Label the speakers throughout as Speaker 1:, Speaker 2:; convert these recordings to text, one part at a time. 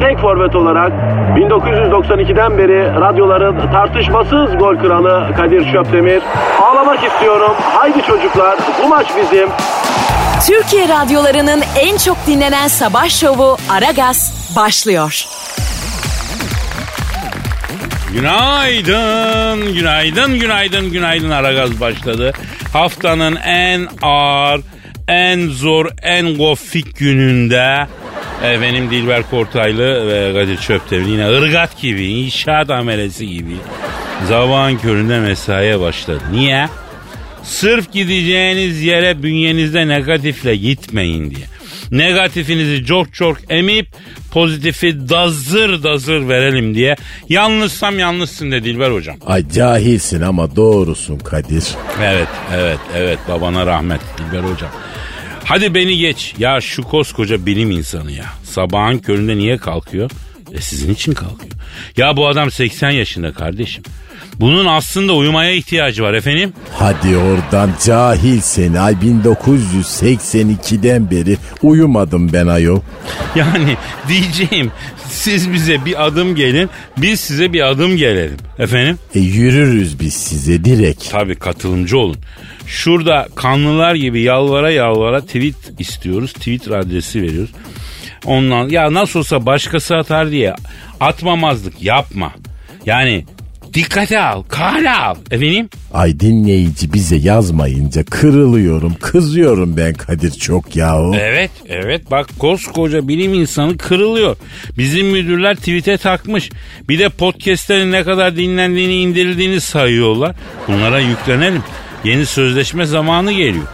Speaker 1: tek forvet olarak 1992'den beri radyoların tartışmasız gol kralı Kadir Şöpdemir. Ağlamak istiyorum. Haydi çocuklar bu maç bizim.
Speaker 2: Türkiye radyolarının en çok dinlenen sabah şovu Aragaz başlıyor.
Speaker 3: Günaydın, günaydın, günaydın, günaydın Aragaz başladı. Haftanın en ağır, en zor, en gofik gününde e, benim Dilber Kortaylı ve Kadir Çöptemir yine ırgat gibi, inşaat amelesi gibi zavağın köründe mesaiye başladı. Niye? Sırf gideceğiniz yere bünyenizde negatifle gitmeyin diye. Negatifinizi çok çok emip pozitifi dazır dazır verelim diye. Yanlışsam yanlışsın dedi Dilber hocam.
Speaker 4: Ay cahilsin ama doğrusun Kadir.
Speaker 3: Evet, evet, evet babana rahmet Dilber hocam. Hadi beni geç. Ya şu koskoca bilim insanı ya. Sabahın köründe niye kalkıyor? E sizin için kalkıyor. Ya bu adam 80 yaşında kardeşim. Bunun aslında uyumaya ihtiyacı var efendim.
Speaker 4: Hadi oradan cahilsin. Ay 1982'den beri uyumadım ben ayol.
Speaker 3: Yani diyeceğim siz bize bir adım gelin biz size bir adım gelelim efendim.
Speaker 4: E yürürüz biz size direkt.
Speaker 3: Tabii katılımcı olun. Şurada kanlılar gibi yalvara yalvara tweet istiyoruz. Twitter adresi veriyoruz. Ondan ya nasıl olsa başkası atar diye atmamazlık yapma. Yani dikkate al, kale al. Efendim?
Speaker 4: Ay dinleyici bize yazmayınca kırılıyorum, kızıyorum ben Kadir çok yahu.
Speaker 3: Evet, evet. Bak koskoca bilim insanı kırılıyor. Bizim müdürler tweet'e takmış. Bir de podcast'lerin ne kadar dinlendiğini, indirildiğini sayıyorlar. Bunlara yüklenelim. Yeni sözleşme zamanı geliyor.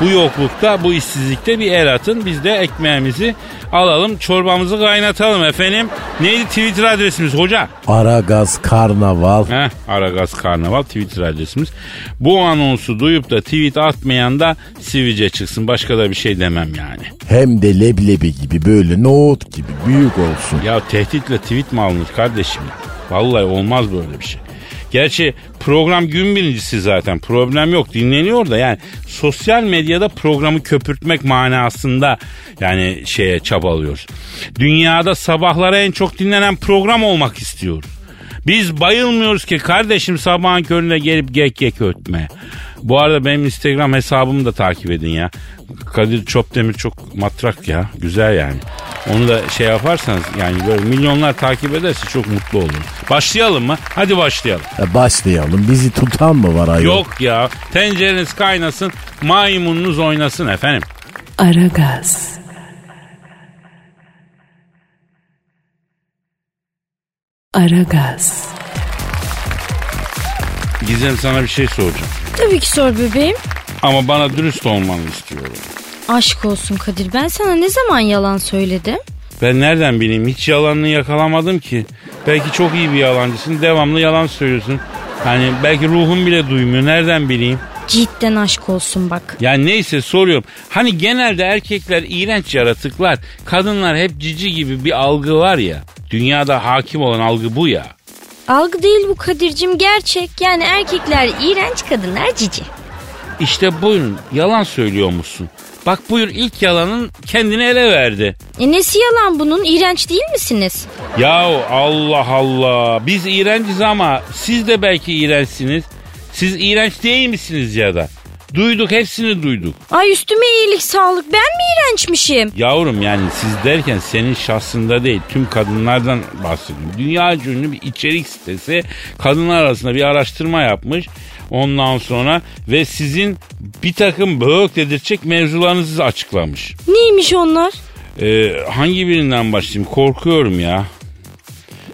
Speaker 3: Bu yoklukta, bu işsizlikte bir el atın. Biz de ekmeğimizi alalım, çorbamızı kaynatalım efendim. Neydi Twitter adresimiz hoca?
Speaker 4: Aragaz Karnaval.
Speaker 3: Heh, Aragaz Karnaval Twitter adresimiz. Bu anonsu duyup da tweet atmayan da sivice çıksın. Başka da bir şey demem yani.
Speaker 4: Hem de leblebi gibi böyle nohut gibi büyük olsun.
Speaker 3: Ya tehditle tweet mi alınır kardeşim? Vallahi olmaz böyle bir şey. Gerçi program gün birincisi zaten problem yok dinleniyor da yani sosyal medyada programı köpürtmek manasında yani şeye çabalıyoruz. Dünyada sabahlara en çok dinlenen program olmak istiyoruz. Biz bayılmıyoruz ki kardeşim sabahın köründe gelip gek gek ötme. Bu arada benim Instagram hesabımı da takip edin ya. Kadir Çopdemir çok matrak ya. Güzel yani. Onu da şey yaparsanız yani böyle milyonlar takip ederse çok mutlu olurum. Başlayalım mı? Hadi başlayalım.
Speaker 4: E, Başlayalım. Bizi tutan mı var ayol?
Speaker 3: Yok ya. Tencereniz kaynasın, maymununuz oynasın efendim.
Speaker 2: Aragaz. Aragaz.
Speaker 3: Gizem sana bir şey soracağım.
Speaker 5: Tabii ki sor bebeğim.
Speaker 3: Ama bana dürüst olmanı istiyorum.
Speaker 5: Aşk olsun Kadir ben sana ne zaman yalan söyledim?
Speaker 3: Ben nereden bileyim? Hiç yalanını yakalamadım ki. Belki çok iyi bir yalancısın. Devamlı yalan söylüyorsun. Hani belki ruhum bile duymuyor. Nereden bileyim?
Speaker 5: Cidden aşk olsun bak.
Speaker 3: Yani neyse soruyorum. Hani genelde erkekler iğrenç yaratıklar, kadınlar hep cici gibi bir algı var ya. Dünyada hakim olan algı bu ya.
Speaker 5: Algı değil bu Kadir'cim gerçek. Yani erkekler iğrenç kadınlar cici.
Speaker 3: İşte buyurun yalan söylüyormuşsun. Bak buyur ilk yalanın kendini ele verdi.
Speaker 5: E nesi yalan bunun iğrenç değil misiniz?
Speaker 3: Yahu Allah Allah biz iğrenciz ama siz de belki iğrençsiniz. Siz iğrenç değil misiniz ya da? Duyduk hepsini duyduk.
Speaker 5: Ay üstüme iyilik sağlık ben mi iğrençmişim?
Speaker 3: Yavrum yani siz derken senin şahsında değil tüm kadınlardan bahsediyorum. Dünya ünlü bir içerik sitesi kadınlar arasında bir araştırma yapmış. Ondan sonra ve sizin bir takım böğük dedirtecek mevzularınızı açıklamış.
Speaker 5: Neymiş onlar?
Speaker 3: Ee, hangi birinden başlayayım korkuyorum ya.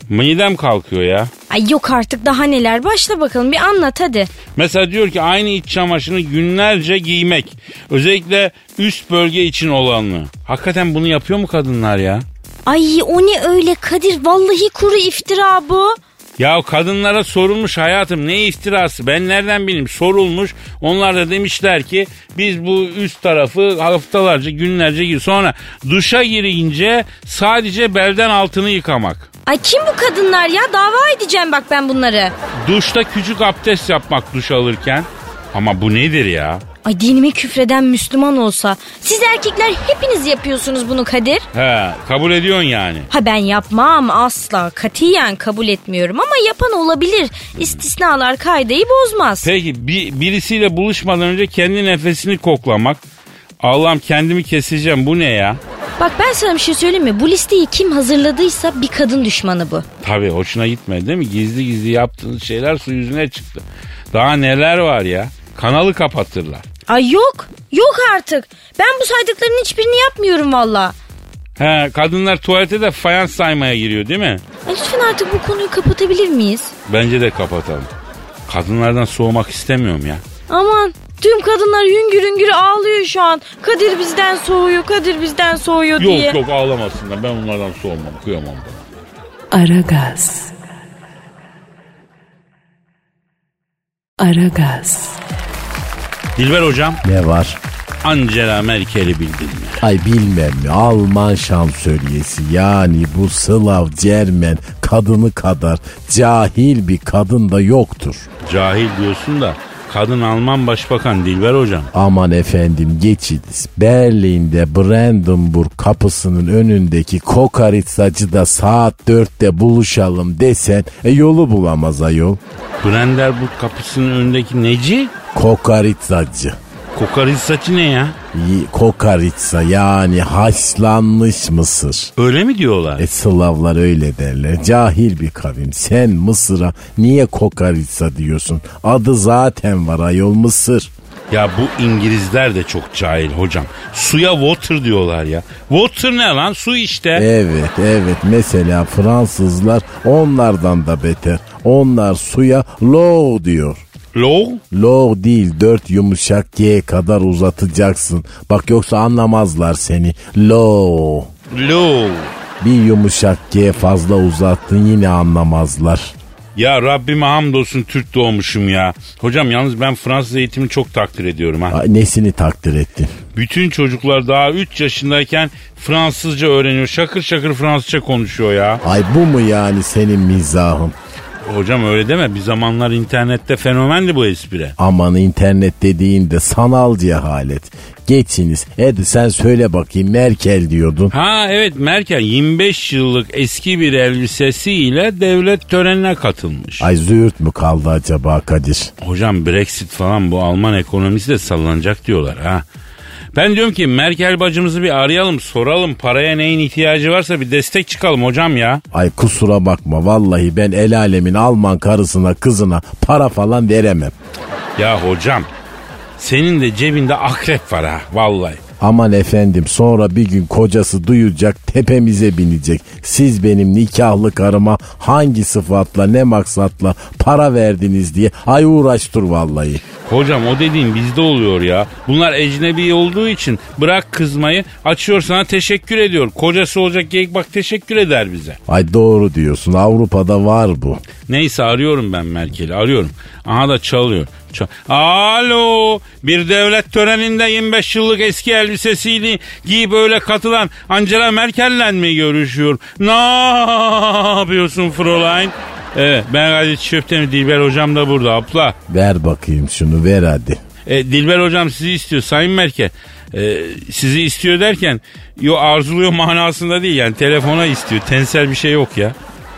Speaker 3: Midem kalkıyor ya.
Speaker 5: Ay yok artık daha neler başla bakalım bir anlat hadi.
Speaker 3: Mesela diyor ki aynı iç çamaşırını günlerce giymek. Özellikle üst bölge için olanı. Hakikaten bunu yapıyor mu kadınlar ya?
Speaker 5: Ay o ne öyle Kadir vallahi kuru iftira bu.
Speaker 3: Ya kadınlara sorulmuş hayatım ne iftirası ben nereden bileyim sorulmuş. Onlar da demişler ki biz bu üst tarafı haftalarca günlerce gir. Sonra duşa girince sadece belden altını yıkamak.
Speaker 5: Ay kim bu kadınlar ya dava edeceğim bak ben bunları.
Speaker 3: Duşta küçük abdest yapmak duş alırken. Ama bu nedir ya?
Speaker 5: Ay dinime küfreden Müslüman olsa. Siz erkekler hepiniz yapıyorsunuz bunu Kadir.
Speaker 3: He kabul ediyorsun yani.
Speaker 5: Ha ben yapmam asla katiyen kabul etmiyorum ama yapan olabilir. İstisnalar kaideyi bozmaz.
Speaker 3: Peki bir, birisiyle buluşmadan önce kendi nefesini koklamak. Allah'ım kendimi keseceğim bu ne ya?
Speaker 5: Bak ben sana bir şey söyleyeyim mi? Bu listeyi kim hazırladıysa bir kadın düşmanı bu.
Speaker 3: Tabii hoşuna gitmedi değil mi? Gizli gizli yaptığınız şeyler su yüzüne çıktı. Daha neler var ya? Kanalı kapatırlar.
Speaker 5: Ay yok. Yok artık. Ben bu saydıkların hiçbirini yapmıyorum valla.
Speaker 3: He, kadınlar tuvalete de fayans saymaya giriyor değil mi?
Speaker 5: Ay lütfen artık bu konuyu kapatabilir miyiz?
Speaker 3: Bence de kapatalım. Kadınlardan soğumak istemiyorum ya.
Speaker 5: Aman tüm kadınlar hüngür hüngür ağlıyor şu an. Kadir bizden soğuyor, Kadir bizden soğuyor diye.
Speaker 3: Yok yok ağlamasınlar. Ben onlardan soğumam. Kıyamam bana.
Speaker 6: Aragaz. Aragaz.
Speaker 3: Dilber hocam
Speaker 4: Ne var?
Speaker 3: Angela Merkel'i bildin mi?
Speaker 4: Ay bilmem mi Alman şansölyesi yani bu Slav Cermen kadını kadar cahil bir kadın da yoktur.
Speaker 3: Cahil diyorsun da kadın Alman başbakan Dilber hocam.
Speaker 4: Aman efendim geçidiz. Berlin'de Brandenburg kapısının önündeki kokaritsacı da saat dörtte buluşalım desen e, yolu bulamaz ayol.
Speaker 3: Brandenburg kapısının önündeki neci?
Speaker 4: Kokaritsacı.
Speaker 3: Kokoreç saçı ne ya?
Speaker 4: Y- Kokaritsa yani haşlanmış mısır.
Speaker 3: Öyle mi diyorlar?
Speaker 4: E Slavlar öyle derler. Cahil bir kavim. Sen Mısır'a niye kokaritsa diyorsun? Adı zaten var ayol Mısır.
Speaker 3: Ya bu İngilizler de çok cahil hocam. Suya water diyorlar ya. Water ne lan? Su işte.
Speaker 4: Evet evet mesela Fransızlar onlardan da beter. Onlar suya low diyor.
Speaker 3: Low?
Speaker 4: Low değil dört yumuşak G kadar uzatacaksın. Bak yoksa anlamazlar seni. Low.
Speaker 3: Low.
Speaker 4: Bir yumuşak G fazla uzattın yine anlamazlar.
Speaker 3: Ya Rabbime hamdolsun Türk doğmuşum ya. Hocam yalnız ben Fransız eğitimini çok takdir ediyorum ha.
Speaker 4: Ay, Nesini takdir ettin?
Speaker 3: Bütün çocuklar daha 3 yaşındayken Fransızca öğreniyor. Şakır şakır Fransızca konuşuyor ya.
Speaker 4: Ay bu mu yani senin mizahın?
Speaker 3: Hocam öyle deme. Bir zamanlar internette fenomendi bu espri.
Speaker 4: Aman internet dediğin de sanal cehalet. Geçiniz. Hadi sen söyle bakayım Merkel diyordun.
Speaker 3: Ha evet Merkel 25 yıllık eski bir elbisesiyle devlet törenine katılmış.
Speaker 4: Ay züğürt mü kaldı acaba Kadir?
Speaker 3: Hocam Brexit falan bu Alman ekonomisi de sallanacak diyorlar ha. Ben diyorum ki Merkel bacımızı bir arayalım soralım paraya neyin ihtiyacı varsa bir destek çıkalım hocam ya.
Speaker 4: Ay kusura bakma vallahi ben el alemin Alman karısına kızına para falan veremem.
Speaker 3: Ya hocam senin de cebinde akrep var ha vallahi.
Speaker 4: Aman efendim sonra bir gün kocası duyacak tepemize binecek. Siz benim nikahlı karıma hangi sıfatla ne maksatla para verdiniz diye ay uğraştır vallahi.
Speaker 3: Hocam o dediğin bizde oluyor ya. Bunlar ecnebi olduğu için bırak kızmayı açıyor sana teşekkür ediyor. Kocası olacak geyik bak teşekkür eder bize.
Speaker 4: Ay doğru diyorsun Avrupa'da var bu.
Speaker 3: Neyse arıyorum ben Merkel'i arıyorum. Aha da çalıyor. Çal- Alo bir devlet töreninde 25 yıllık eski elbisesini giyip öyle katılan Angela Merkel'le mi görüşüyor? Ne yapıyorsun Fräulein? Evet ben Kadir Çöptemir Dilber hocam da burada abla.
Speaker 4: Ver bakayım şunu ver hadi.
Speaker 3: E, Dilber hocam sizi istiyor Sayın Merkel. E, sizi istiyor derken yo arzuluyor manasında değil yani telefona istiyor. Tensel bir şey yok ya.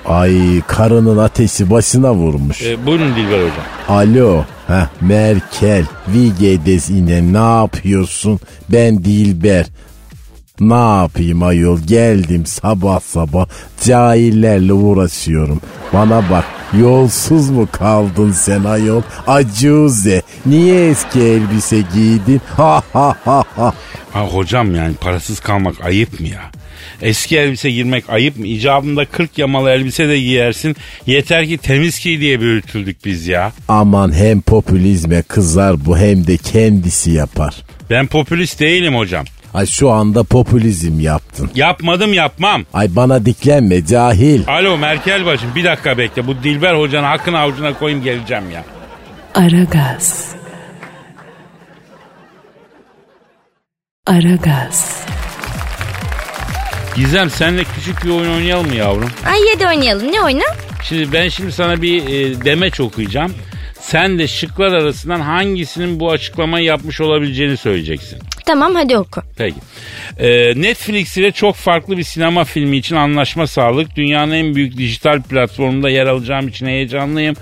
Speaker 4: Ay karının ateşi başına vurmuş.
Speaker 3: E, buyurun Dilber hocam.
Speaker 4: Alo. Heh, Merkel. Vigedes yine ne yapıyorsun? Ben Dilber. Ne yapayım ayol geldim sabah sabah cahillerle uğraşıyorum. Bana bak yolsuz mu kaldın sen ayol? Acuze niye eski elbise giydin? Ha ha ha ha.
Speaker 3: Ha hocam yani parasız kalmak ayıp mı ya? Eski elbise girmek ayıp mı? İcabında 40 yamalı elbise de giyersin. Yeter ki temiz giy diye büyütüldük biz ya.
Speaker 4: Aman hem popülizme kızar bu hem de kendisi yapar.
Speaker 3: Ben popülist değilim hocam.
Speaker 4: Ay şu anda popülizm yaptın.
Speaker 3: Yapmadım yapmam.
Speaker 4: Ay bana diklenme cahil.
Speaker 3: Alo Merkel bacım bir dakika bekle. Bu Dilber hocanın hakkını avucuna koyayım geleceğim ya.
Speaker 6: Aragaz. Aragaz.
Speaker 3: Gizem senle küçük bir oyun oynayalım mı yavrum?
Speaker 5: Ay yedi oynayalım ne oyna?
Speaker 3: Şimdi ben şimdi sana bir e, demeç okuyacağım. Sen de şıklar arasından hangisinin bu açıklamayı yapmış olabileceğini söyleyeceksin.
Speaker 5: Tamam hadi oku.
Speaker 3: Peki. Ee, Netflix ile çok farklı bir sinema filmi için anlaşma sağladık. Dünyanın en büyük dijital platformunda yer alacağım için heyecanlıyım.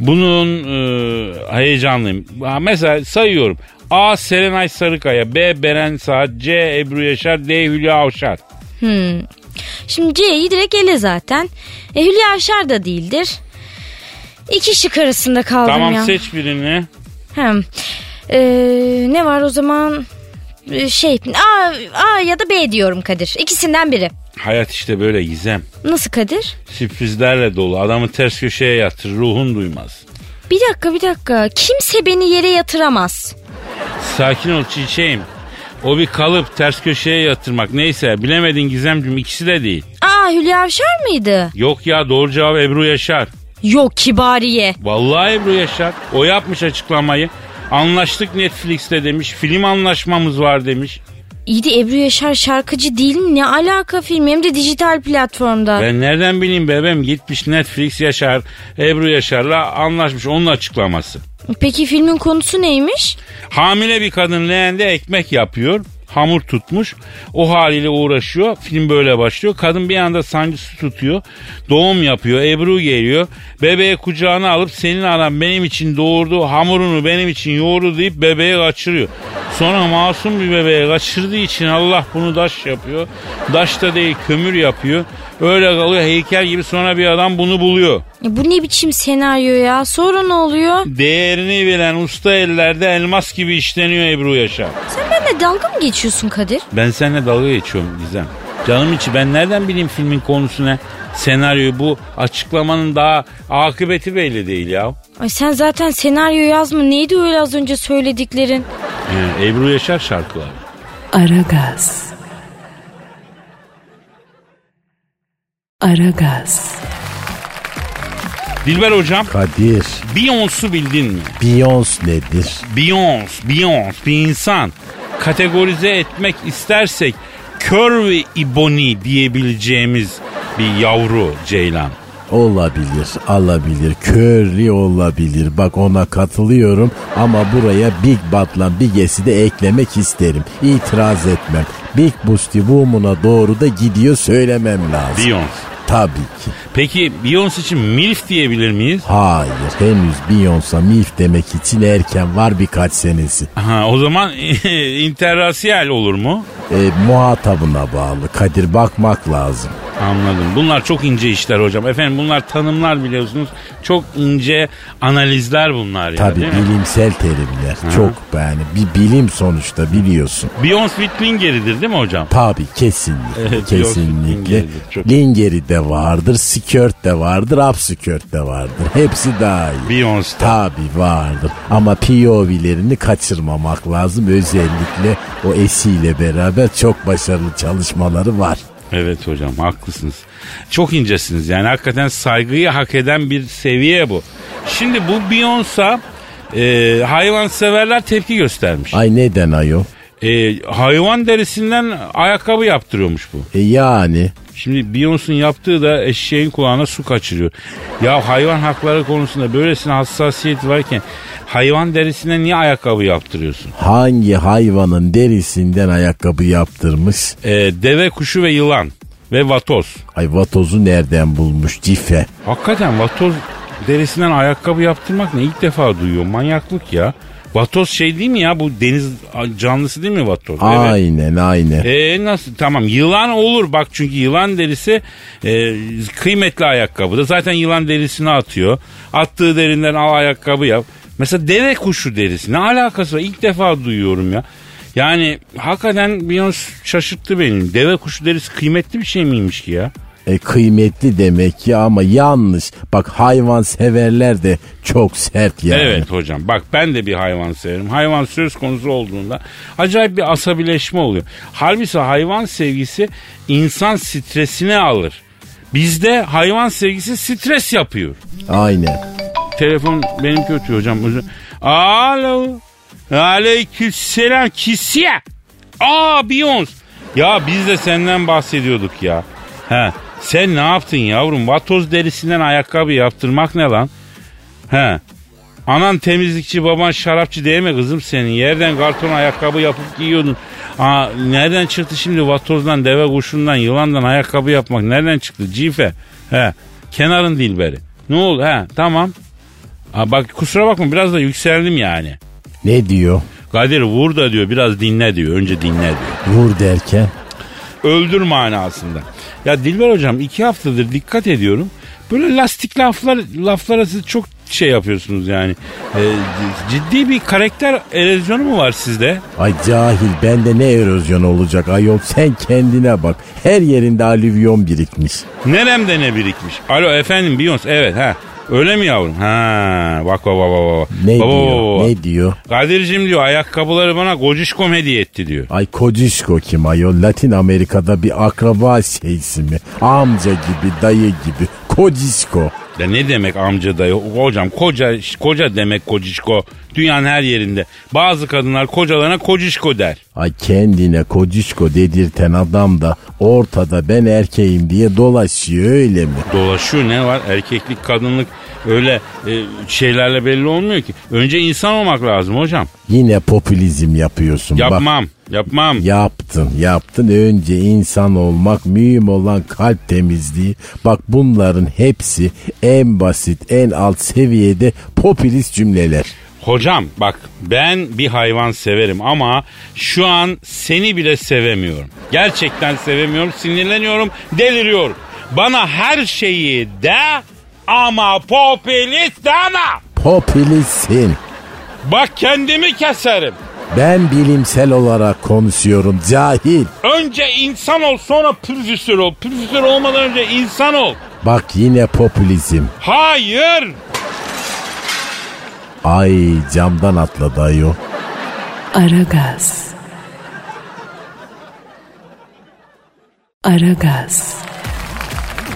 Speaker 3: Bunun e, heyecanlıyım. Ha, Mesela sayıyorum. A. Serenay Sarıkaya. B. Beren Saat. C. Ebru Yaşar. D. Hülya Avşar.
Speaker 5: Hmm. Şimdi C'yi direkt ele zaten. E, Hülya Avşar da değildir. İki şık arasında kaldım
Speaker 3: tamam
Speaker 5: ya.
Speaker 3: seç birini.
Speaker 5: Hem. Ee, ne var o zaman? Ee, Şey A, A ya da B diyorum Kadir. İkisinden biri.
Speaker 3: Hayat işte böyle gizem.
Speaker 5: Nasıl Kadir?
Speaker 3: Sürprizlerle dolu. Adamı ters köşeye yatır. Ruhun duymaz.
Speaker 5: Bir dakika bir dakika. Kimse beni yere yatıramaz.
Speaker 3: Sakin ol çiçeğim. O bir kalıp ters köşeye yatırmak. Neyse bilemedin Gizemcim ikisi de değil.
Speaker 5: Aa Hülya Avşar mıydı?
Speaker 3: Yok ya doğru cevap Ebru Yaşar.
Speaker 5: Yok Kibariye.
Speaker 3: Vallahi Ebru Yaşar. O yapmış açıklamayı. Anlaştık Netflix'te demiş. Film anlaşmamız var demiş.
Speaker 5: İyi de Ebru Yaşar şarkıcı değil mi? Ne alaka film? Hem de dijital platformda.
Speaker 3: Ben nereden bileyim bebeğim gitmiş Netflix Yaşar Ebru Yaşar'la anlaşmış onun açıklaması.
Speaker 5: Peki filmin konusu neymiş?
Speaker 3: Hamile bir kadın leğende ekmek yapıyor. Hamur tutmuş. O haliyle uğraşıyor. Film böyle başlıyor. Kadın bir anda sancısı tutuyor. Doğum yapıyor. Ebru geliyor. Bebeği kucağına alıp senin anan benim için doğurdu. Hamurunu benim için yoğurdu deyip bebeği kaçırıyor. Sonra masum bir bebeği kaçırdığı için Allah bunu daş yapıyor. Daş da değil kömür yapıyor. Öyle kalıyor heykel gibi sonra bir adam bunu buluyor.
Speaker 5: Ya E, bu ne biçim senaryo ya? Sonra ne oluyor?
Speaker 3: Değerini bilen usta ellerde elmas gibi işleniyor Ebru Yaşar.
Speaker 5: Sen benimle dalga mı geçiyorsun Kadir?
Speaker 3: Ben seninle dalga geçiyorum Gizem. Canım içi ben nereden bileyim filmin konusu ne? Senaryoyu bu açıklamanın daha akıbeti belli değil ya.
Speaker 5: Ay sen zaten senaryo yazma. Neydi öyle az önce söylediklerin?
Speaker 3: Ee, Ebru Yaşar şarkıları.
Speaker 6: Aragaz. Aragaz.
Speaker 3: Dilber hocam
Speaker 4: Kadir,
Speaker 3: Beyoncé'u bildin mi?
Speaker 4: Beyoncé nedir?
Speaker 3: Beyoncé, Beyoncé bir insan. Kategorize etmek istersek Curvy Ebony diyebileceğimiz bir yavru ceylan.
Speaker 4: Olabilir, alabilir, körli olabilir. Bak ona katılıyorum ama buraya Big Bat'la Biges'i de eklemek isterim. İtiraz etmem. Big Busti Boom'una doğru da gidiyor söylemem lazım.
Speaker 3: Beyoncé.
Speaker 4: Tabii ki.
Speaker 3: Peki Beyoncé için MILF diyebilir miyiz?
Speaker 4: Hayır, henüz Beyoncé mif demek için erken var birkaç senesi.
Speaker 3: Ha, o zaman interrasyal olur mu?
Speaker 4: E, muhatabına bağlı. Kadir bakmak lazım.
Speaker 3: Anladım. Bunlar çok ince işler hocam. Efendim bunlar tanımlar biliyorsunuz. Çok ince analizler bunlar ya.
Speaker 4: Tabii
Speaker 3: değil mi?
Speaker 4: bilimsel terimler. Çok yani bir bilim sonuçta biliyorsun.
Speaker 3: Beyoncé Whitlinger'idir değil mi hocam?
Speaker 4: Tabii kesinlikle.
Speaker 3: Evet,
Speaker 4: kesinlikle.
Speaker 3: yok, çok-
Speaker 4: Lingeri de vardır, skirt de vardır, upskirt de vardır. Hepsi daha iyi.
Speaker 3: Beyoncé.
Speaker 4: Tabii vardır ama POV'lerini kaçırmamak lazım. Özellikle o esiyle beraber çok başarılı çalışmaları var.
Speaker 3: Evet hocam haklısınız. Çok incesiniz yani hakikaten saygıyı hak eden bir seviye bu. Şimdi bu Beyoncé e, hayvanseverler tepki göstermiş.
Speaker 4: Ay neden ayol?
Speaker 3: E, hayvan derisinden ayakkabı yaptırıyormuş bu.
Speaker 4: E yani
Speaker 3: Şimdi Beyoncé'nin yaptığı da eşeğin kulağına su kaçırıyor. Ya hayvan hakları konusunda böylesine hassasiyet varken hayvan derisine niye ayakkabı yaptırıyorsun?
Speaker 4: hangi hayvanın derisinden ayakkabı yaptırmış?
Speaker 3: Ee, deve kuşu ve yılan ve vatoz.
Speaker 4: Ay vatozu nereden bulmuş cife?
Speaker 3: Hakikaten vatoz derisinden ayakkabı yaptırmak ne ilk defa duyuyor manyaklık ya. Vatoz şey değil mi ya bu deniz canlısı değil mi vatoz? Evet.
Speaker 4: Aynen aynen.
Speaker 3: Ee, nasıl tamam yılan olur bak çünkü yılan derisi e, kıymetli ayakkabı da zaten yılan derisini atıyor. Attığı derinden al ayakkabı yap. Mesela deve kuşu derisi ne alakası var ilk defa duyuyorum ya. Yani hakikaten Beyoncé şaşırttı beni. Deve kuşu derisi kıymetli bir şey miymiş ki ya?
Speaker 4: E, kıymetli demek ki ama yanlış. Bak hayvan severler de çok sert yani.
Speaker 3: Evet hocam bak ben de bir hayvan severim. Hayvan söz konusu olduğunda acayip bir asabileşme oluyor. Halbuki hayvan sevgisi insan stresine alır. Bizde hayvan sevgisi stres yapıyor.
Speaker 4: Aynen.
Speaker 3: Telefon benim kötü hocam. özür- Alo. Aleykümselam kisiye. Aa Beyoncé. Ya biz de senden bahsediyorduk ya. He. Sen ne yaptın yavrum? Vatoz derisinden ayakkabı yaptırmak ne lan? He. Anan temizlikçi, baban şarapçı değil mi kızım senin? Yerden karton ayakkabı yapıp giyiyordun. Aa, nereden çıktı şimdi vatozdan, deve kuşundan, yılandan ayakkabı yapmak? Nereden çıktı? Cife. He. Kenarın dilberi. Ne oldu? He. Tamam. Aa, bak kusura bakma biraz da yükseldim yani.
Speaker 4: Ne diyor?
Speaker 3: Kadir vur da diyor biraz dinle diyor. Önce dinle diyor
Speaker 4: Vur derken.
Speaker 3: öldür manasında. Ya Dilber hocam iki haftadır dikkat ediyorum. Böyle lastik laflar laflara siz çok şey yapıyorsunuz yani. Ee, c- ciddi bir karakter erozyonu mu var sizde?
Speaker 4: Ay cahil bende ne erozyon olacak ayol sen kendine bak. Her yerinde alüvyon birikmiş.
Speaker 3: Neremde ne birikmiş? Alo efendim Beyoncé evet ha. Öyle mi yavrum? Ha bak bak bak bak. bak.
Speaker 4: Ne
Speaker 3: Bak, bak,
Speaker 4: diyor?
Speaker 3: bak, bak.
Speaker 4: Ne diyor?
Speaker 3: Kadir'cim diyor ayakkabıları bana gocişkom hediye etti diyor.
Speaker 4: Ay Kocişko kim ayol? Latin Amerika'da bir akraba şeysi mi? Amca gibi, dayı gibi. Kocişko.
Speaker 3: Ya ne demek amca dayı? Hocam koca koca demek kocişko. Dünyanın her yerinde. Bazı kadınlar kocalarına kocişko der.
Speaker 4: Ay kendine kocişko dedirten adam da ortada ben erkeğim diye dolaşıyor öyle mi?
Speaker 3: dolaşıyor ne var erkeklik kadınlık öyle e, şeylerle belli olmuyor ki. Önce insan olmak lazım hocam.
Speaker 4: Yine popülizm yapıyorsun. Bak,
Speaker 3: Yapmam yapmam.
Speaker 4: yaptın yaptın önce insan olmak mühim olan kalp temizliği. Bak bunların hepsi en basit en alt seviyede popülist cümleler.
Speaker 3: Hocam bak ben bir hayvan severim ama şu an seni bile sevemiyorum. Gerçekten sevemiyorum sinirleniyorum deliriyorum. Bana her şeyi de ama popülist de ama.
Speaker 4: Popülistsin.
Speaker 3: Bak kendimi keserim.
Speaker 4: Ben bilimsel olarak konuşuyorum cahil.
Speaker 3: Önce insan ol sonra profesör ol. Profesör olmadan önce insan ol.
Speaker 4: Bak yine popülizm.
Speaker 3: Hayır.
Speaker 4: Ay camdan atladı ayol.
Speaker 6: Aragaz. Aragaz.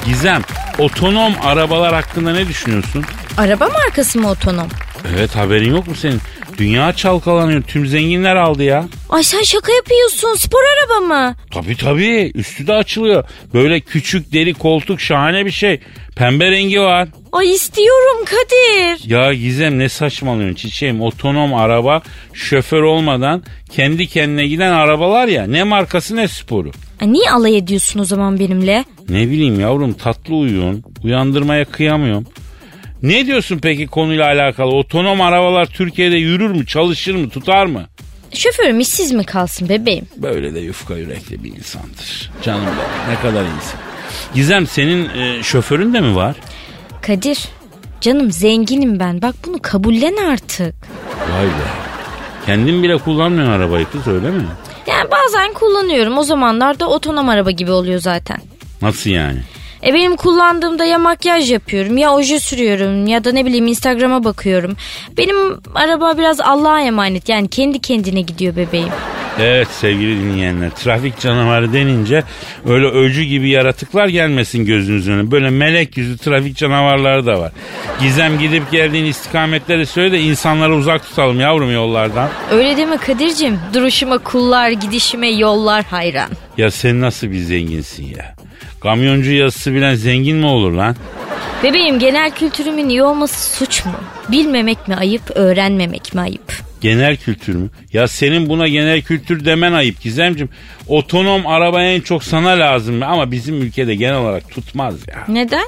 Speaker 3: Gizem, otonom arabalar hakkında ne düşünüyorsun?
Speaker 5: Araba markası mı otonom?
Speaker 3: Evet haberin yok mu senin? Dünya çalkalanıyor. Tüm zenginler aldı ya.
Speaker 5: Ay sen şaka yapıyorsun. Spor araba mı?
Speaker 3: Tabii tabii. Üstü de açılıyor. Böyle küçük deri koltuk şahane bir şey. Pembe rengi var.
Speaker 5: Ay istiyorum Kadir.
Speaker 3: Ya Gizem ne saçmalıyorsun çiçeğim. Otonom araba şoför olmadan kendi kendine giden arabalar ya. Ne markası ne sporu.
Speaker 5: Ay E, niye alay ediyorsun o zaman benimle?
Speaker 3: Ne bileyim yavrum tatlı uyuyorsun. Uyandırmaya kıyamıyorum. Ne diyorsun peki konuyla alakalı? Otonom arabalar Türkiye'de yürür mü, çalışır mı, tutar mı?
Speaker 5: Şoförüm işsiz mi kalsın bebeğim?
Speaker 3: Böyle de yufka yürekli bir insandır. Canım benim ne kadar insan. Gizem senin e, şoförün de mi var?
Speaker 5: Kadir canım zenginim ben. Bak bunu kabullen artık.
Speaker 3: Vay be. Kendin bile kullanmıyorsun arabayı kız öyle mi?
Speaker 5: Yani bazen kullanıyorum. O zamanlarda otonom araba gibi oluyor zaten.
Speaker 3: Nasıl yani?
Speaker 5: E benim kullandığımda ya makyaj yapıyorum ya oje sürüyorum ya da ne bileyim Instagram'a bakıyorum. Benim araba biraz Allah'a emanet yani kendi kendine gidiyor bebeğim.
Speaker 3: Evet sevgili dinleyenler trafik canavarı denince öyle öcü gibi yaratıklar gelmesin gözünüzün önüne. Böyle melek yüzü trafik canavarları da var. Gizem gidip geldiğin istikametleri söyle de insanları uzak tutalım yavrum yollardan.
Speaker 5: Öyle deme Kadir'cim duruşuma kullar gidişime yollar hayran.
Speaker 3: Ya sen nasıl bir zenginsin ya? Kamyoncu yazısı bilen zengin mi olur lan?
Speaker 5: Bebeğim genel kültürümün iyi olması suç mu? Bilmemek mi ayıp öğrenmemek mi ayıp?
Speaker 3: Genel kültür mü? Ya senin buna genel kültür demen ayıp Gizemcim. Otonom araba en çok sana lazım ama bizim ülkede genel olarak tutmaz ya.
Speaker 5: Neden?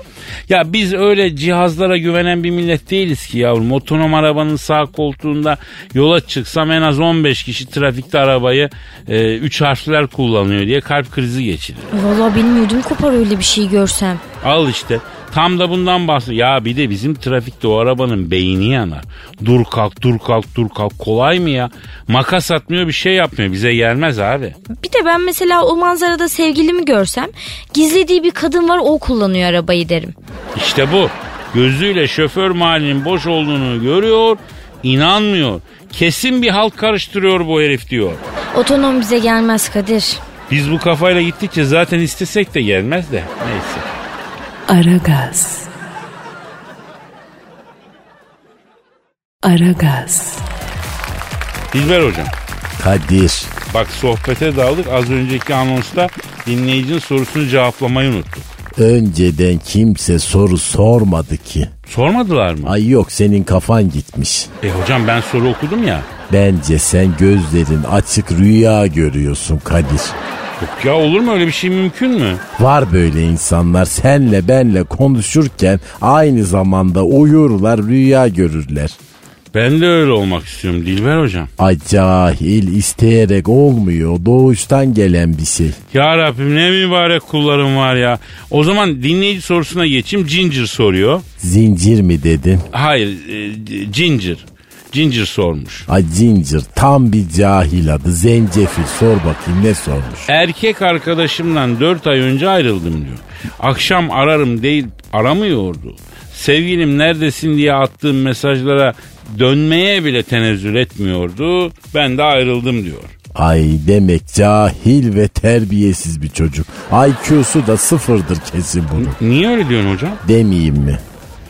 Speaker 3: Ya biz öyle cihazlara güvenen bir millet değiliz ki yavrum. Otonom arabanın sağ koltuğunda yola çıksam en az 15 kişi trafikte arabayı 3 harfler kullanıyor diye kalp krizi geçirir.
Speaker 5: Valla benim ödüm kopar öyle bir şey görsem.
Speaker 3: Al işte Tam da bundan bahsediyor. Ya bir de bizim trafikte o arabanın beyni yanar. Dur kalk dur kalk dur kalk kolay mı ya? Makas atmıyor bir şey yapmıyor bize gelmez abi.
Speaker 5: Bir de ben mesela o manzarada sevgilimi görsem gizlediği bir kadın var o kullanıyor arabayı derim.
Speaker 3: İşte bu. Gözüyle şoför mahallinin boş olduğunu görüyor, inanmıyor. Kesin bir halk karıştırıyor bu herif diyor.
Speaker 5: Otonom bize gelmez Kadir.
Speaker 3: Biz bu kafayla gittikçe zaten istesek de gelmez de. Neyse.
Speaker 6: Aragaz. Aragaz.
Speaker 3: Dilber hocam.
Speaker 4: Kadir.
Speaker 3: Bak sohbete daldık. Az önceki anonsta dinleyicinin sorusunu cevaplamayı unuttuk.
Speaker 4: Önceden kimse soru sormadı ki.
Speaker 3: Sormadılar mı?
Speaker 4: Ay yok senin kafan gitmiş.
Speaker 3: E hocam ben soru okudum ya.
Speaker 4: Bence sen gözlerin açık rüya görüyorsun Kadir.
Speaker 3: Yok ya olur mu öyle bir şey mümkün mü?
Speaker 4: Var böyle insanlar senle benle konuşurken aynı zamanda uyurlar rüya görürler.
Speaker 3: Ben de öyle olmak istiyorum Dilber hocam.
Speaker 4: Ay cahil isteyerek olmuyor doğuştan gelen bir şey.
Speaker 3: Ya Rabbim ne mübarek kullarım var ya. O zaman dinleyici sorusuna geçeyim. Ginger soruyor.
Speaker 4: Zincir mi dedin?
Speaker 3: Hayır, e, Ginger. Ginger sormuş.
Speaker 4: Ay zincir tam bir cahil adı zencefil sor bakayım ne sormuş.
Speaker 3: Erkek arkadaşımdan 4 ay önce ayrıldım diyor. Akşam ararım değil aramıyordu. Sevgilim neredesin diye attığım mesajlara dönmeye bile tenezzül etmiyordu. Ben de ayrıldım diyor.
Speaker 4: Ay demek cahil ve terbiyesiz bir çocuk. IQ'su da sıfırdır kesin bunun.
Speaker 3: Niye öyle diyorsun hocam?
Speaker 4: Demeyeyim mi?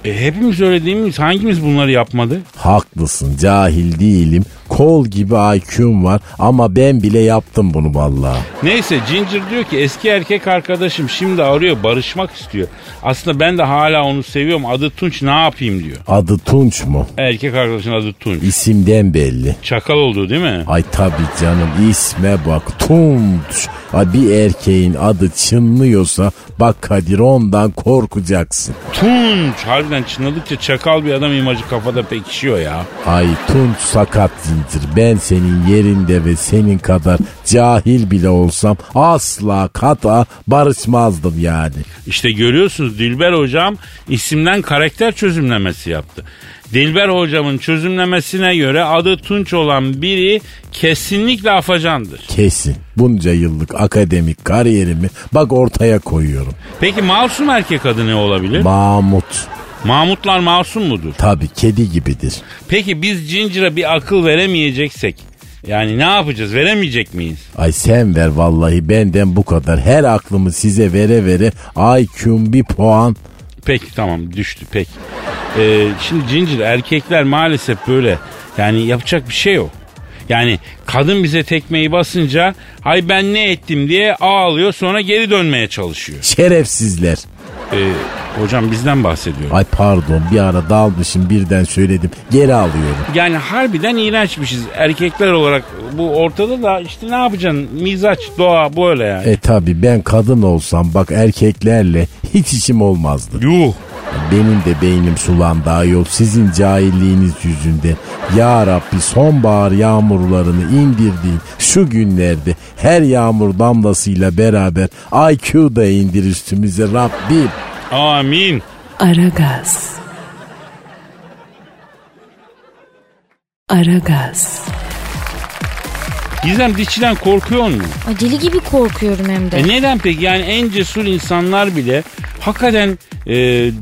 Speaker 3: E, hepimiz öyle değil miyiz? Hangimiz bunları yapmadı?
Speaker 4: Haklısın cahil değilim. Kol gibi IQ'm var ama ben bile yaptım bunu vallahi.
Speaker 3: Neyse Ginger diyor ki eski erkek arkadaşım şimdi arıyor barışmak istiyor. Aslında ben de hala onu seviyorum adı Tunç ne yapayım diyor.
Speaker 4: Adı Tunç mu?
Speaker 3: Erkek arkadaşın adı Tunç.
Speaker 4: İsimden belli.
Speaker 3: Çakal oldu değil mi?
Speaker 4: Ay tabi canım isme bak Tunç. Ay bir erkeğin adı çınlıyorsa bak Kadir ondan korkacaksın.
Speaker 3: Tunç. Harbiden çınladıkça çakal bir adam imajı kafada pekişiyor ya.
Speaker 4: Ay Tunç sakat zincir. Ben senin yerinde ve senin kadar cahil bile olsam asla kata barışmazdım yani.
Speaker 3: İşte görüyorsunuz Dilber hocam isimden karakter çözümlemesi yaptı. Dilber hocamın çözümlemesine göre adı Tunç olan biri kesinlikle afacandır.
Speaker 4: Kesin. Bunca yıllık akademik kariyerimi bak ortaya koyuyorum.
Speaker 3: Peki masum erkek adı ne olabilir?
Speaker 4: Mahmut.
Speaker 3: Mahmutlar masum mudur?
Speaker 4: Tabi kedi gibidir.
Speaker 3: Peki biz Ginger'a bir akıl veremeyeceksek yani ne yapacağız? Veremeyecek miyiz?
Speaker 4: Ay sen ver vallahi benden bu kadar. Her aklımı size vere vere IQ'm bir puan.
Speaker 3: Peki tamam düştü peki. Ee, şimdi Ginger erkekler maalesef böyle yani yapacak bir şey yok. Yani kadın bize tekmeyi basınca hay ben ne ettim diye ağlıyor sonra geri dönmeye çalışıyor.
Speaker 4: Şerefsizler.
Speaker 3: Ee, hocam bizden bahsediyor.
Speaker 4: Ay pardon bir ara dalmışım birden söyledim. Geri alıyorum.
Speaker 3: Yani harbiden iğrençmişiz erkekler olarak bu ortada da işte ne yapacaksın mizaç doğa böyle yani.
Speaker 4: E tabi ben kadın olsam bak erkeklerle hiç işim olmazdı.
Speaker 3: Yuh
Speaker 4: Benim de beynim sulandı ayol sizin cahilliğiniz yüzünden. Ya Rabbi sonbahar yağmurlarını indirdiğin şu günlerde her yağmur damlasıyla beraber IQ da indir üstümüze Rabbim.
Speaker 3: amin.
Speaker 6: Aragaz. Aragaz.
Speaker 3: Gizem dişçiden korkuyor mu?
Speaker 5: Ay deli gibi korkuyorum hem de.
Speaker 3: E neden peki? Yani en cesur insanlar bile hakikaten e,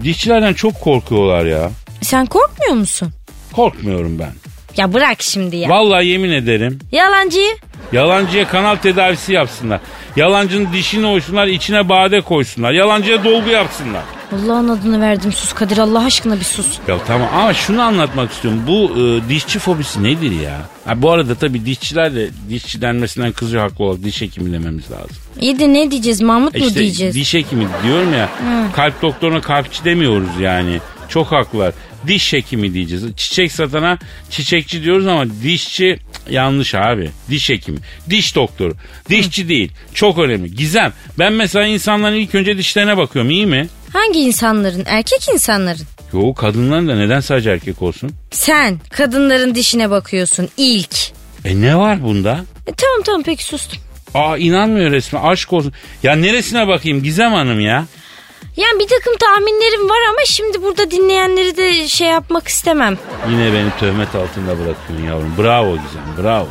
Speaker 3: dişçilerden çok korkuyorlar ya.
Speaker 5: Sen korkmuyor musun?
Speaker 3: Korkmuyorum ben.
Speaker 5: Ya bırak şimdi ya.
Speaker 3: Vallahi yemin ederim.
Speaker 5: Yalancıyı.
Speaker 3: Yalancıya kanal tedavisi yapsınlar. Yalancının dişini oysunlar, içine bade koysunlar. Yalancıya dolgu yapsınlar.
Speaker 5: Allah'ın adını verdim sus Kadir Allah aşkına bir sus.
Speaker 3: Ya tamam ama şunu anlatmak istiyorum. Bu e, dişçi fobisi nedir ya? Ha, bu arada tabii dişçiler de dişçi denmesinden kızıyor haklı olarak diş hekimi dememiz lazım.
Speaker 5: İyi de ne diyeceğiz Mahmut
Speaker 3: E
Speaker 5: mu
Speaker 3: işte
Speaker 5: diyeceğiz?
Speaker 3: diş hekimi diyorum ya. Kalp doktoruna kalpçi demiyoruz yani. Çok haklılar. Diş hekimi diyeceğiz. Çiçek satana çiçekçi diyoruz ama dişçi cık, yanlış abi. Diş hekimi. Diş doktoru. Dişçi değil. Çok önemli. Gizem. Ben mesela insanların ilk önce dişlerine bakıyorum iyi mi?
Speaker 5: Hangi insanların? Erkek insanların.
Speaker 3: Yo kadınların da neden sadece erkek olsun?
Speaker 5: Sen kadınların dişine bakıyorsun ilk.
Speaker 3: E ne var bunda?
Speaker 5: E, tamam tamam peki sustum.
Speaker 3: Aa inanmıyor resmen aşk olsun. Ya neresine bakayım Gizem Hanım ya?
Speaker 5: Yani bir takım tahminlerim var ama şimdi burada dinleyenleri de şey yapmak istemem.
Speaker 3: Yine beni töhmet altında bırakıyorsun yavrum. Bravo Gizem bravo.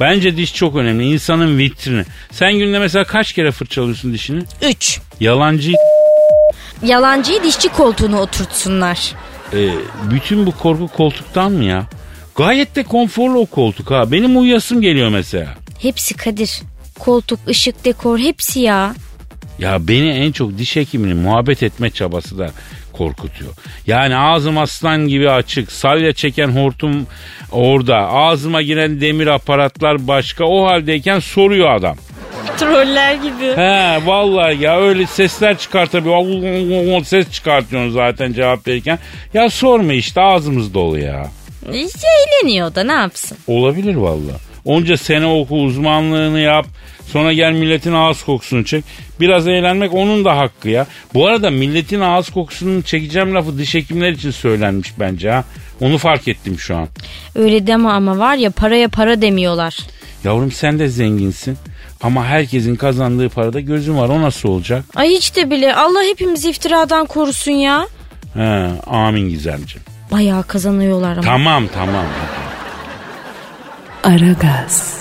Speaker 3: Bence diş çok önemli. İnsanın vitrini. Sen günde mesela kaç kere fırçalıyorsun dişini?
Speaker 5: 3.
Speaker 3: Yalancı
Speaker 5: Yalancıyı dişçi koltuğuna oturtsunlar.
Speaker 3: E, bütün bu korku koltuktan mı ya? Gayet de konforlu o koltuk ha. Benim uyuyasım geliyor mesela.
Speaker 5: Hepsi Kadir. Koltuk, ışık, dekor hepsi ya.
Speaker 3: Ya beni en çok diş hekiminin muhabbet etme çabası da korkutuyor. Yani ağzım aslan gibi açık. Salya çeken hortum orada. Ağzıma giren demir aparatlar başka. O haldeyken soruyor adam.
Speaker 5: Troller gibi.
Speaker 3: He vallahi ya öyle sesler çıkartabiliyor. Av, av, av, av Ses çıkartıyorsun zaten cevap verirken. Ya sorma işte ağzımız dolu ya.
Speaker 5: İşte E, eğleniyor da ne yapsın?
Speaker 3: Olabilir valla. Onca sene oku uzmanlığını yap. Sonra gel milletin ağız kokusunu çek. Biraz eğlenmek onun da hakkı ya. Bu arada milletin ağız kokusunu çekeceğim lafı diş hekimler için söylenmiş bence ha. Onu fark ettim şu an.
Speaker 5: Öyle deme ama var ya paraya para demiyorlar.
Speaker 3: Yavrum sen de zenginsin. Ama herkesin kazandığı parada gözün var. O nasıl olacak?
Speaker 5: Ay hiç de bile Allah hepimizi iftiradan korusun ya.
Speaker 3: He, amin Gizemciğim.
Speaker 5: Bayağı kazanıyorlar ama.
Speaker 3: Tamam tamam.
Speaker 6: Aragaz.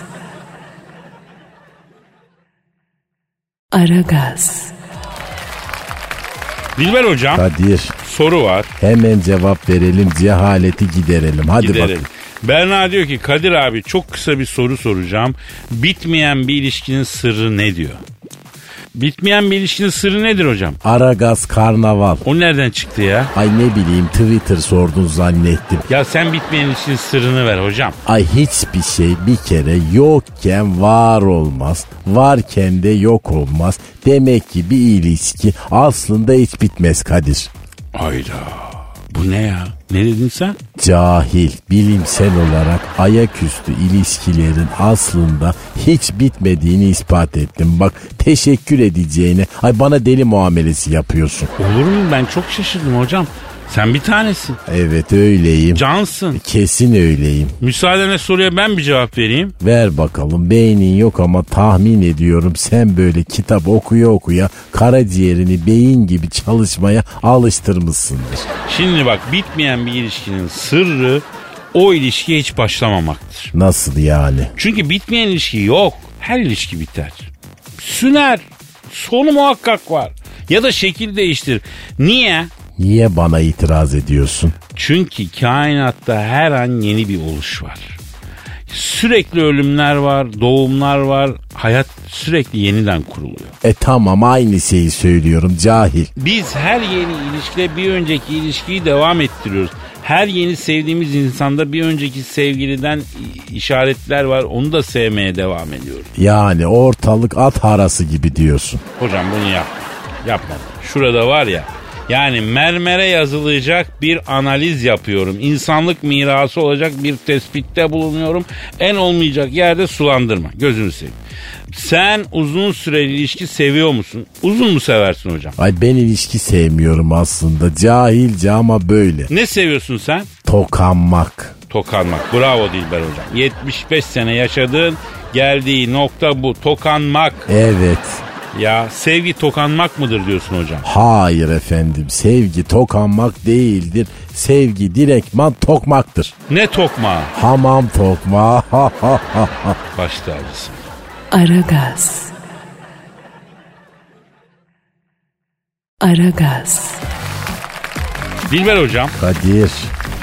Speaker 6: Aragaz.
Speaker 3: Dilber hocam
Speaker 4: Kadir
Speaker 3: soru var.
Speaker 4: hemen cevap verelim cehaleti giderelim. Hadi
Speaker 3: Gidelim.
Speaker 4: bakalım.
Speaker 3: Berna diyor ki Kadir abi çok kısa bir soru soracağım. Bitmeyen bir ilişkinin sırrı ne diyor? Bitmeyen bir ilişkinin sırrı nedir hocam?
Speaker 4: Aragaz karnaval.
Speaker 3: O nereden çıktı ya?
Speaker 4: Ay ne bileyim Twitter sordun zannettim.
Speaker 3: Ya sen bitmeyen ilişkinin sırrını ver hocam.
Speaker 4: Ay hiçbir şey bir kere yokken var olmaz. Varken de yok olmaz. Demek ki bir ilişki aslında hiç bitmez Kadir.
Speaker 3: Ayda. Bu ne ya? Ne dedin sen?
Speaker 4: Cahil, bilimsel olarak ayaküstü ilişkilerin aslında hiç bitmediğini ispat ettim. Bak teşekkür edeceğine, ay bana deli muamelesi yapıyorsun.
Speaker 3: Olur mu? Ben çok şaşırdım hocam. Sen bir tanesin.
Speaker 4: Evet öyleyim.
Speaker 3: Cansın.
Speaker 4: Kesin öyleyim.
Speaker 3: Müsaadenle soruya ben bir cevap vereyim.
Speaker 4: Ver bakalım beynin yok ama tahmin ediyorum sen böyle kitap okuya okuya karaciğerini beyin gibi çalışmaya alıştırmışsındır.
Speaker 3: Şimdi bak bitmeyen bir ilişkinin sırrı o ilişkiye hiç başlamamaktır.
Speaker 4: Nasıl yani?
Speaker 3: Çünkü bitmeyen ilişki yok. Her ilişki biter. Süner. Sonu muhakkak var. Ya da şekil değiştir. Niye?
Speaker 4: Niye bana itiraz ediyorsun?
Speaker 3: Çünkü kainatta her an yeni bir oluş var. Sürekli ölümler var, doğumlar var. Hayat sürekli yeniden kuruluyor.
Speaker 4: E tamam aynı şeyi söylüyorum cahil.
Speaker 3: Biz her yeni ilişkide bir önceki ilişkiyi devam ettiriyoruz. Her yeni sevdiğimiz insanda bir önceki sevgiliden i- işaretler var. Onu da sevmeye devam ediyoruz.
Speaker 4: Yani ortalık at harası gibi diyorsun.
Speaker 3: Hocam bunu yapma. Yapma. Şurada var ya. Yani mermere yazılacak bir analiz yapıyorum. İnsanlık mirası olacak bir tespitte bulunuyorum. En olmayacak yerde sulandırma. Gözünü seveyim. Sen uzun süreli ilişki seviyor musun? Uzun mu seversin hocam?
Speaker 4: Ay ben ilişki sevmiyorum aslında cahilce ama böyle.
Speaker 3: Ne seviyorsun sen?
Speaker 4: Tokanmak.
Speaker 3: Tokanmak. Bravo Dilber hocam. 75 sene yaşadığın geldiği nokta bu. Tokanmak.
Speaker 4: Evet.
Speaker 3: Ya sevgi tokanmak mıdır diyorsun hocam?
Speaker 4: Hayır efendim sevgi tokanmak değildir. Sevgi direktman tokmaktır.
Speaker 3: Ne tokma?
Speaker 4: Hamam tokma.
Speaker 3: Baş tacısın.
Speaker 6: Aragaz. Aragaz.
Speaker 3: Dilber hocam
Speaker 4: Kadir.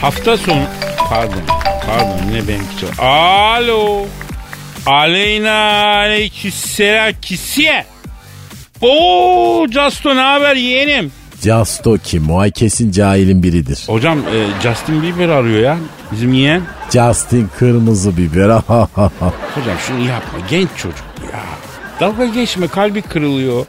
Speaker 3: hafta sonu... Pardon. Pardon yine benimki çok... Alo. Aleyna aleyküsselam kisiye. Oo Justo ne haber yeğenim?
Speaker 4: Casto kim o? Ay kesin cahilin biridir.
Speaker 3: Hocam e, Justin Bieber arıyor ya bizim yeğen.
Speaker 4: Justin kırmızı biber.
Speaker 3: Hocam şunu yapma genç çocuk ya. Dalga geçme kalbi kırılıyor.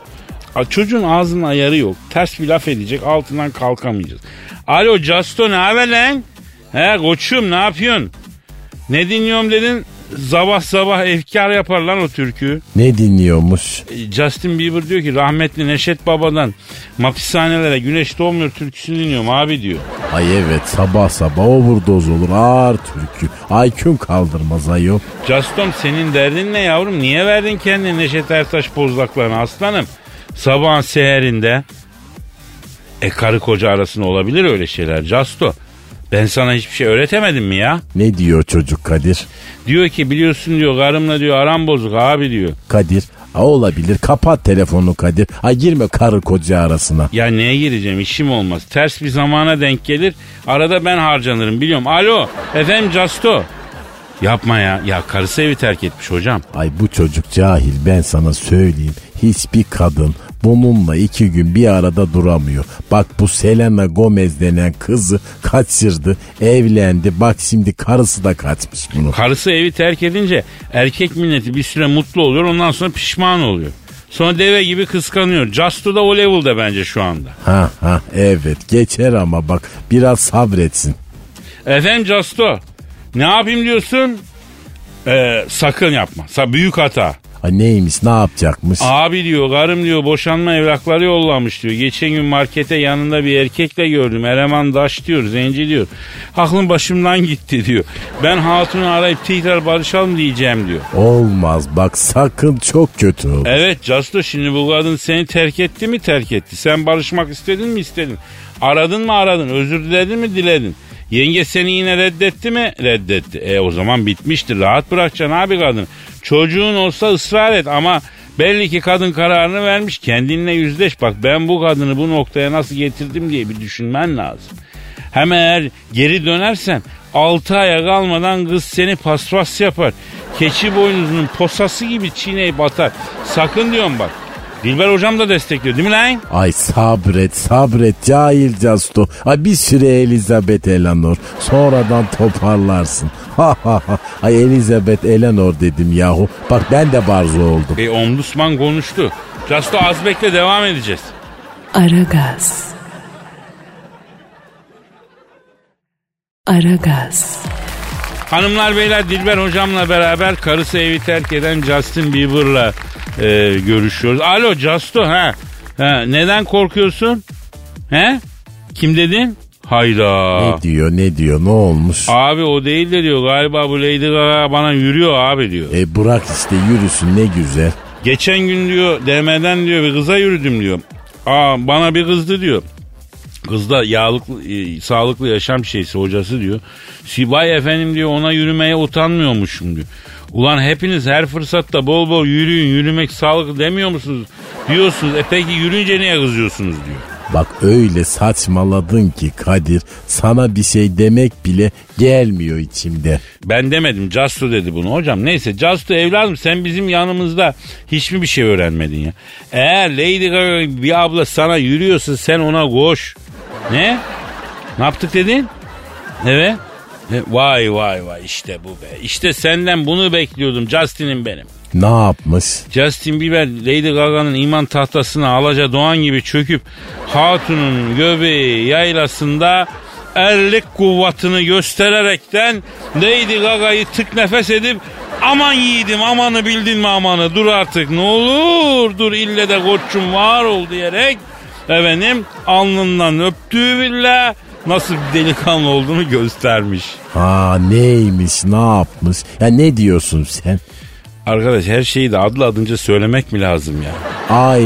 Speaker 3: A, Çocuğun ağzının ayarı yok. Ters bir laf edecek altından kalkamayacağız. Alo Justo ne haber lan? He koçum ne yapıyorsun? Ne dinliyorum dedin? Sabah sabah efkar yapar lan o türkü.
Speaker 4: ne dinliyormuş?
Speaker 3: E, Justin Bieber diyor ki rahmetli Neşet Baba'dan hapishanelere güneş doğmuyor türküsünü dinliyorum abi diyor.
Speaker 4: Ay evet sabah sabah overdose olur ağır türkü. Aykün kaldırmaz ayol.
Speaker 3: Castom senin derdin ne yavrum? Niye verdin kendini Neşet Ertaş bozlaklarına aslanım? Sabahın seherinde. E karı koca arasında olabilir öyle şeyler Casto. Ben sana hiçbir şey öğretemedim mi ya?
Speaker 4: Ne diyor çocuk Kadir?
Speaker 3: Diyor ki biliyorsun diyor karımla diyor aram bozuk abi diyor.
Speaker 4: Kadir. A olabilir. Kapat telefonu Kadir. Ay girme karı koca arasına.
Speaker 3: Ya neye gireceğim işim olmaz. Ters bir zamana denk gelir. Arada ben harcanırım biliyorum. Alo efendim Casto. Yapma ya. Ya karısı evi terk etmiş hocam.
Speaker 4: Ay bu çocuk cahil ben sana söyleyeyim. Hiçbir kadın bununla iki gün bir arada duramıyor. Bak bu Selena Gomez denen kızı kaçırdı, evlendi. Bak şimdi karısı da kaçmış bunu.
Speaker 3: Karısı evi terk edince erkek milleti bir süre mutlu oluyor. Ondan sonra pişman oluyor. Sonra deve gibi kıskanıyor. Casto da o level'da bence şu anda.
Speaker 4: Ha ha evet geçer ama bak biraz sabretsin.
Speaker 3: Efendim Casto. Ne yapayım diyorsun? Ee, sakın yapma. Sa- büyük hata.
Speaker 4: Ay neymiş ne yapacakmış?
Speaker 3: Abi diyor karım diyor boşanma evrakları yollamış diyor. Geçen gün markete yanında bir erkekle gördüm. Eleman daş diyor zenci diyor. Aklım başımdan gitti diyor. Ben hatunu arayıp tekrar barışalım diyeceğim diyor.
Speaker 4: Olmaz bak sakın çok kötü olur.
Speaker 3: Evet Casto şimdi bu kadın seni terk etti mi terk etti. Sen barışmak istedin mi istedin. Aradın mı aradın özür diledin mi diledin. Yenge seni yine reddetti mi? Reddetti. E o zaman bitmiştir. Rahat bırakacaksın abi kadın. Çocuğun olsa ısrar et ama belli ki kadın kararını vermiş. Kendinle yüzleş. Bak ben bu kadını bu noktaya nasıl getirdim diye bir düşünmen lazım. Hem eğer geri dönersen 6 aya kalmadan kız seni paspas yapar. Keçi boynuzunun posası gibi çiğneyip atar. Sakın diyorum bak. Dilber hocam da destekliyor değil mi lan?
Speaker 4: Ay sabret sabret cahil casto. Ay bir süre Elizabeth Eleanor. Sonradan toparlarsın. Ha ha ha. Ay Elizabeth Eleanor dedim yahu. Bak ben de barzo oldum.
Speaker 3: E ombudsman konuştu. Casto az bekle devam edeceğiz.
Speaker 6: Aragaz. Aragaz.
Speaker 3: Hanımlar beyler Dilber hocamla beraber karısı evi terk eden Justin Bieber'la e, görüşüyoruz. Alo Justo ha. ha. Neden korkuyorsun? He? Kim dedin? Hayda.
Speaker 4: Ne diyor ne diyor ne olmuş?
Speaker 3: Abi o değil de diyor galiba bu Lady Gaga bana yürüyor abi diyor.
Speaker 4: E bırak işte yürüsün ne güzel.
Speaker 3: Geçen gün diyor DM'den diyor bir kıza yürüdüm diyor. Aa bana bir kızdı diyor. Kız da yağlıklı, e, sağlıklı yaşam şeysi hocası diyor. Sibay efendim diyor ona yürümeye utanmıyormuşum diyor. Ulan hepiniz her fırsatta bol bol yürüyün yürümek sağlıklı demiyor musunuz? Diyorsunuz e peki yürüyünce niye kızıyorsunuz diyor.
Speaker 4: Bak öyle saçmaladın ki Kadir sana bir şey demek bile gelmiyor içimde.
Speaker 3: Ben demedim Casto dedi bunu hocam. Neyse Casto evladım sen bizim yanımızda hiç mi bir şey öğrenmedin ya? Eğer Lady Gaga gibi bir abla sana yürüyorsa sen ona koş. Ne? Ne yaptık dedin? Evet. E, Vay vay vay işte bu be. İşte senden bunu bekliyordum Justin'im benim.
Speaker 4: Ne yapmış?
Speaker 3: Justin Bieber Lady Gaga'nın iman tahtasına alaca doğan gibi çöküp hatunun göbeği yaylasında erlik kuvvetini göstererekten Lady Gaga'yı tık nefes edip aman yiğidim amanı bildin mi amanı dur artık ne olur dur ille de koçum var ol diyerek efendim alnından öptüğü bile nasıl bir delikanlı olduğunu göstermiş.
Speaker 4: Ha neymiş ne yapmış? Ya ne diyorsun sen?
Speaker 3: Arkadaş her şeyi de adlı adınca söylemek mi lazım ya?
Speaker 4: Ay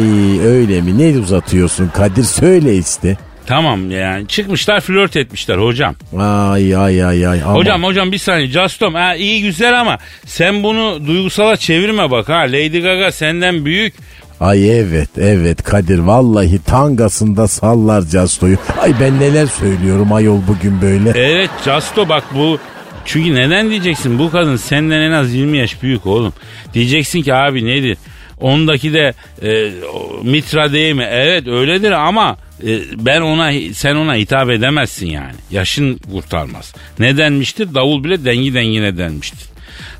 Speaker 4: öyle mi? Ne uzatıyorsun Kadir? Söyle işte.
Speaker 3: Tamam yani çıkmışlar flört etmişler hocam.
Speaker 4: Ay ay ay ay. Aman.
Speaker 3: Hocam hocam bir saniye Justom ha, iyi güzel ama sen bunu duygusala çevirme bak ha Lady Gaga senden büyük.
Speaker 4: Ay evet evet Kadir vallahi tangasında sallar Casto'yu. Ay ben neler söylüyorum ayol bugün böyle.
Speaker 3: Evet Justo bak bu çünkü neden diyeceksin bu kadın senden en az 20 yaş büyük oğlum. Diyeceksin ki abi nedir? Ondaki de e, o, Mitra değil mi? Evet öyledir ama e, ben ona sen ona hitap edemezsin yani. Yaşın kurtarmaz. Ne denmiştir? Davul bile dengi dengine denmiştir.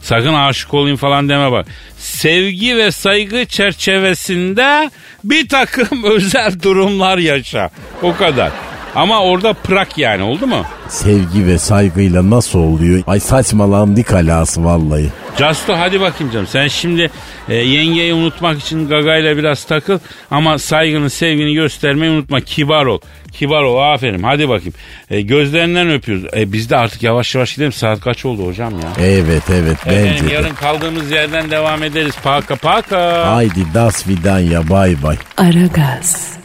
Speaker 3: Sakın aşık olayım falan deme bak. Sevgi ve saygı çerçevesinde bir takım özel durumlar yaşa. O kadar. Ama orada prak yani oldu mu?
Speaker 4: Sevgi ve saygıyla nasıl oluyor? Ay saçmalandık alası vallahi.
Speaker 3: Casto hadi bakayım canım. Sen şimdi e, yengeyi unutmak için gagayla biraz takıl. Ama saygını sevgini göstermeyi unutma. Kibar ol. Kibar ol aferin hadi bakayım. E, gözlerinden öpüyoruz. E, biz de artık yavaş yavaş gidelim. Saat kaç oldu hocam ya?
Speaker 4: Evet evet
Speaker 3: Efendim
Speaker 4: bence de.
Speaker 3: yarın kaldığımız yerden devam ederiz. Paka paka.
Speaker 4: Haydi das vidanya bay bay.
Speaker 6: Aragaz.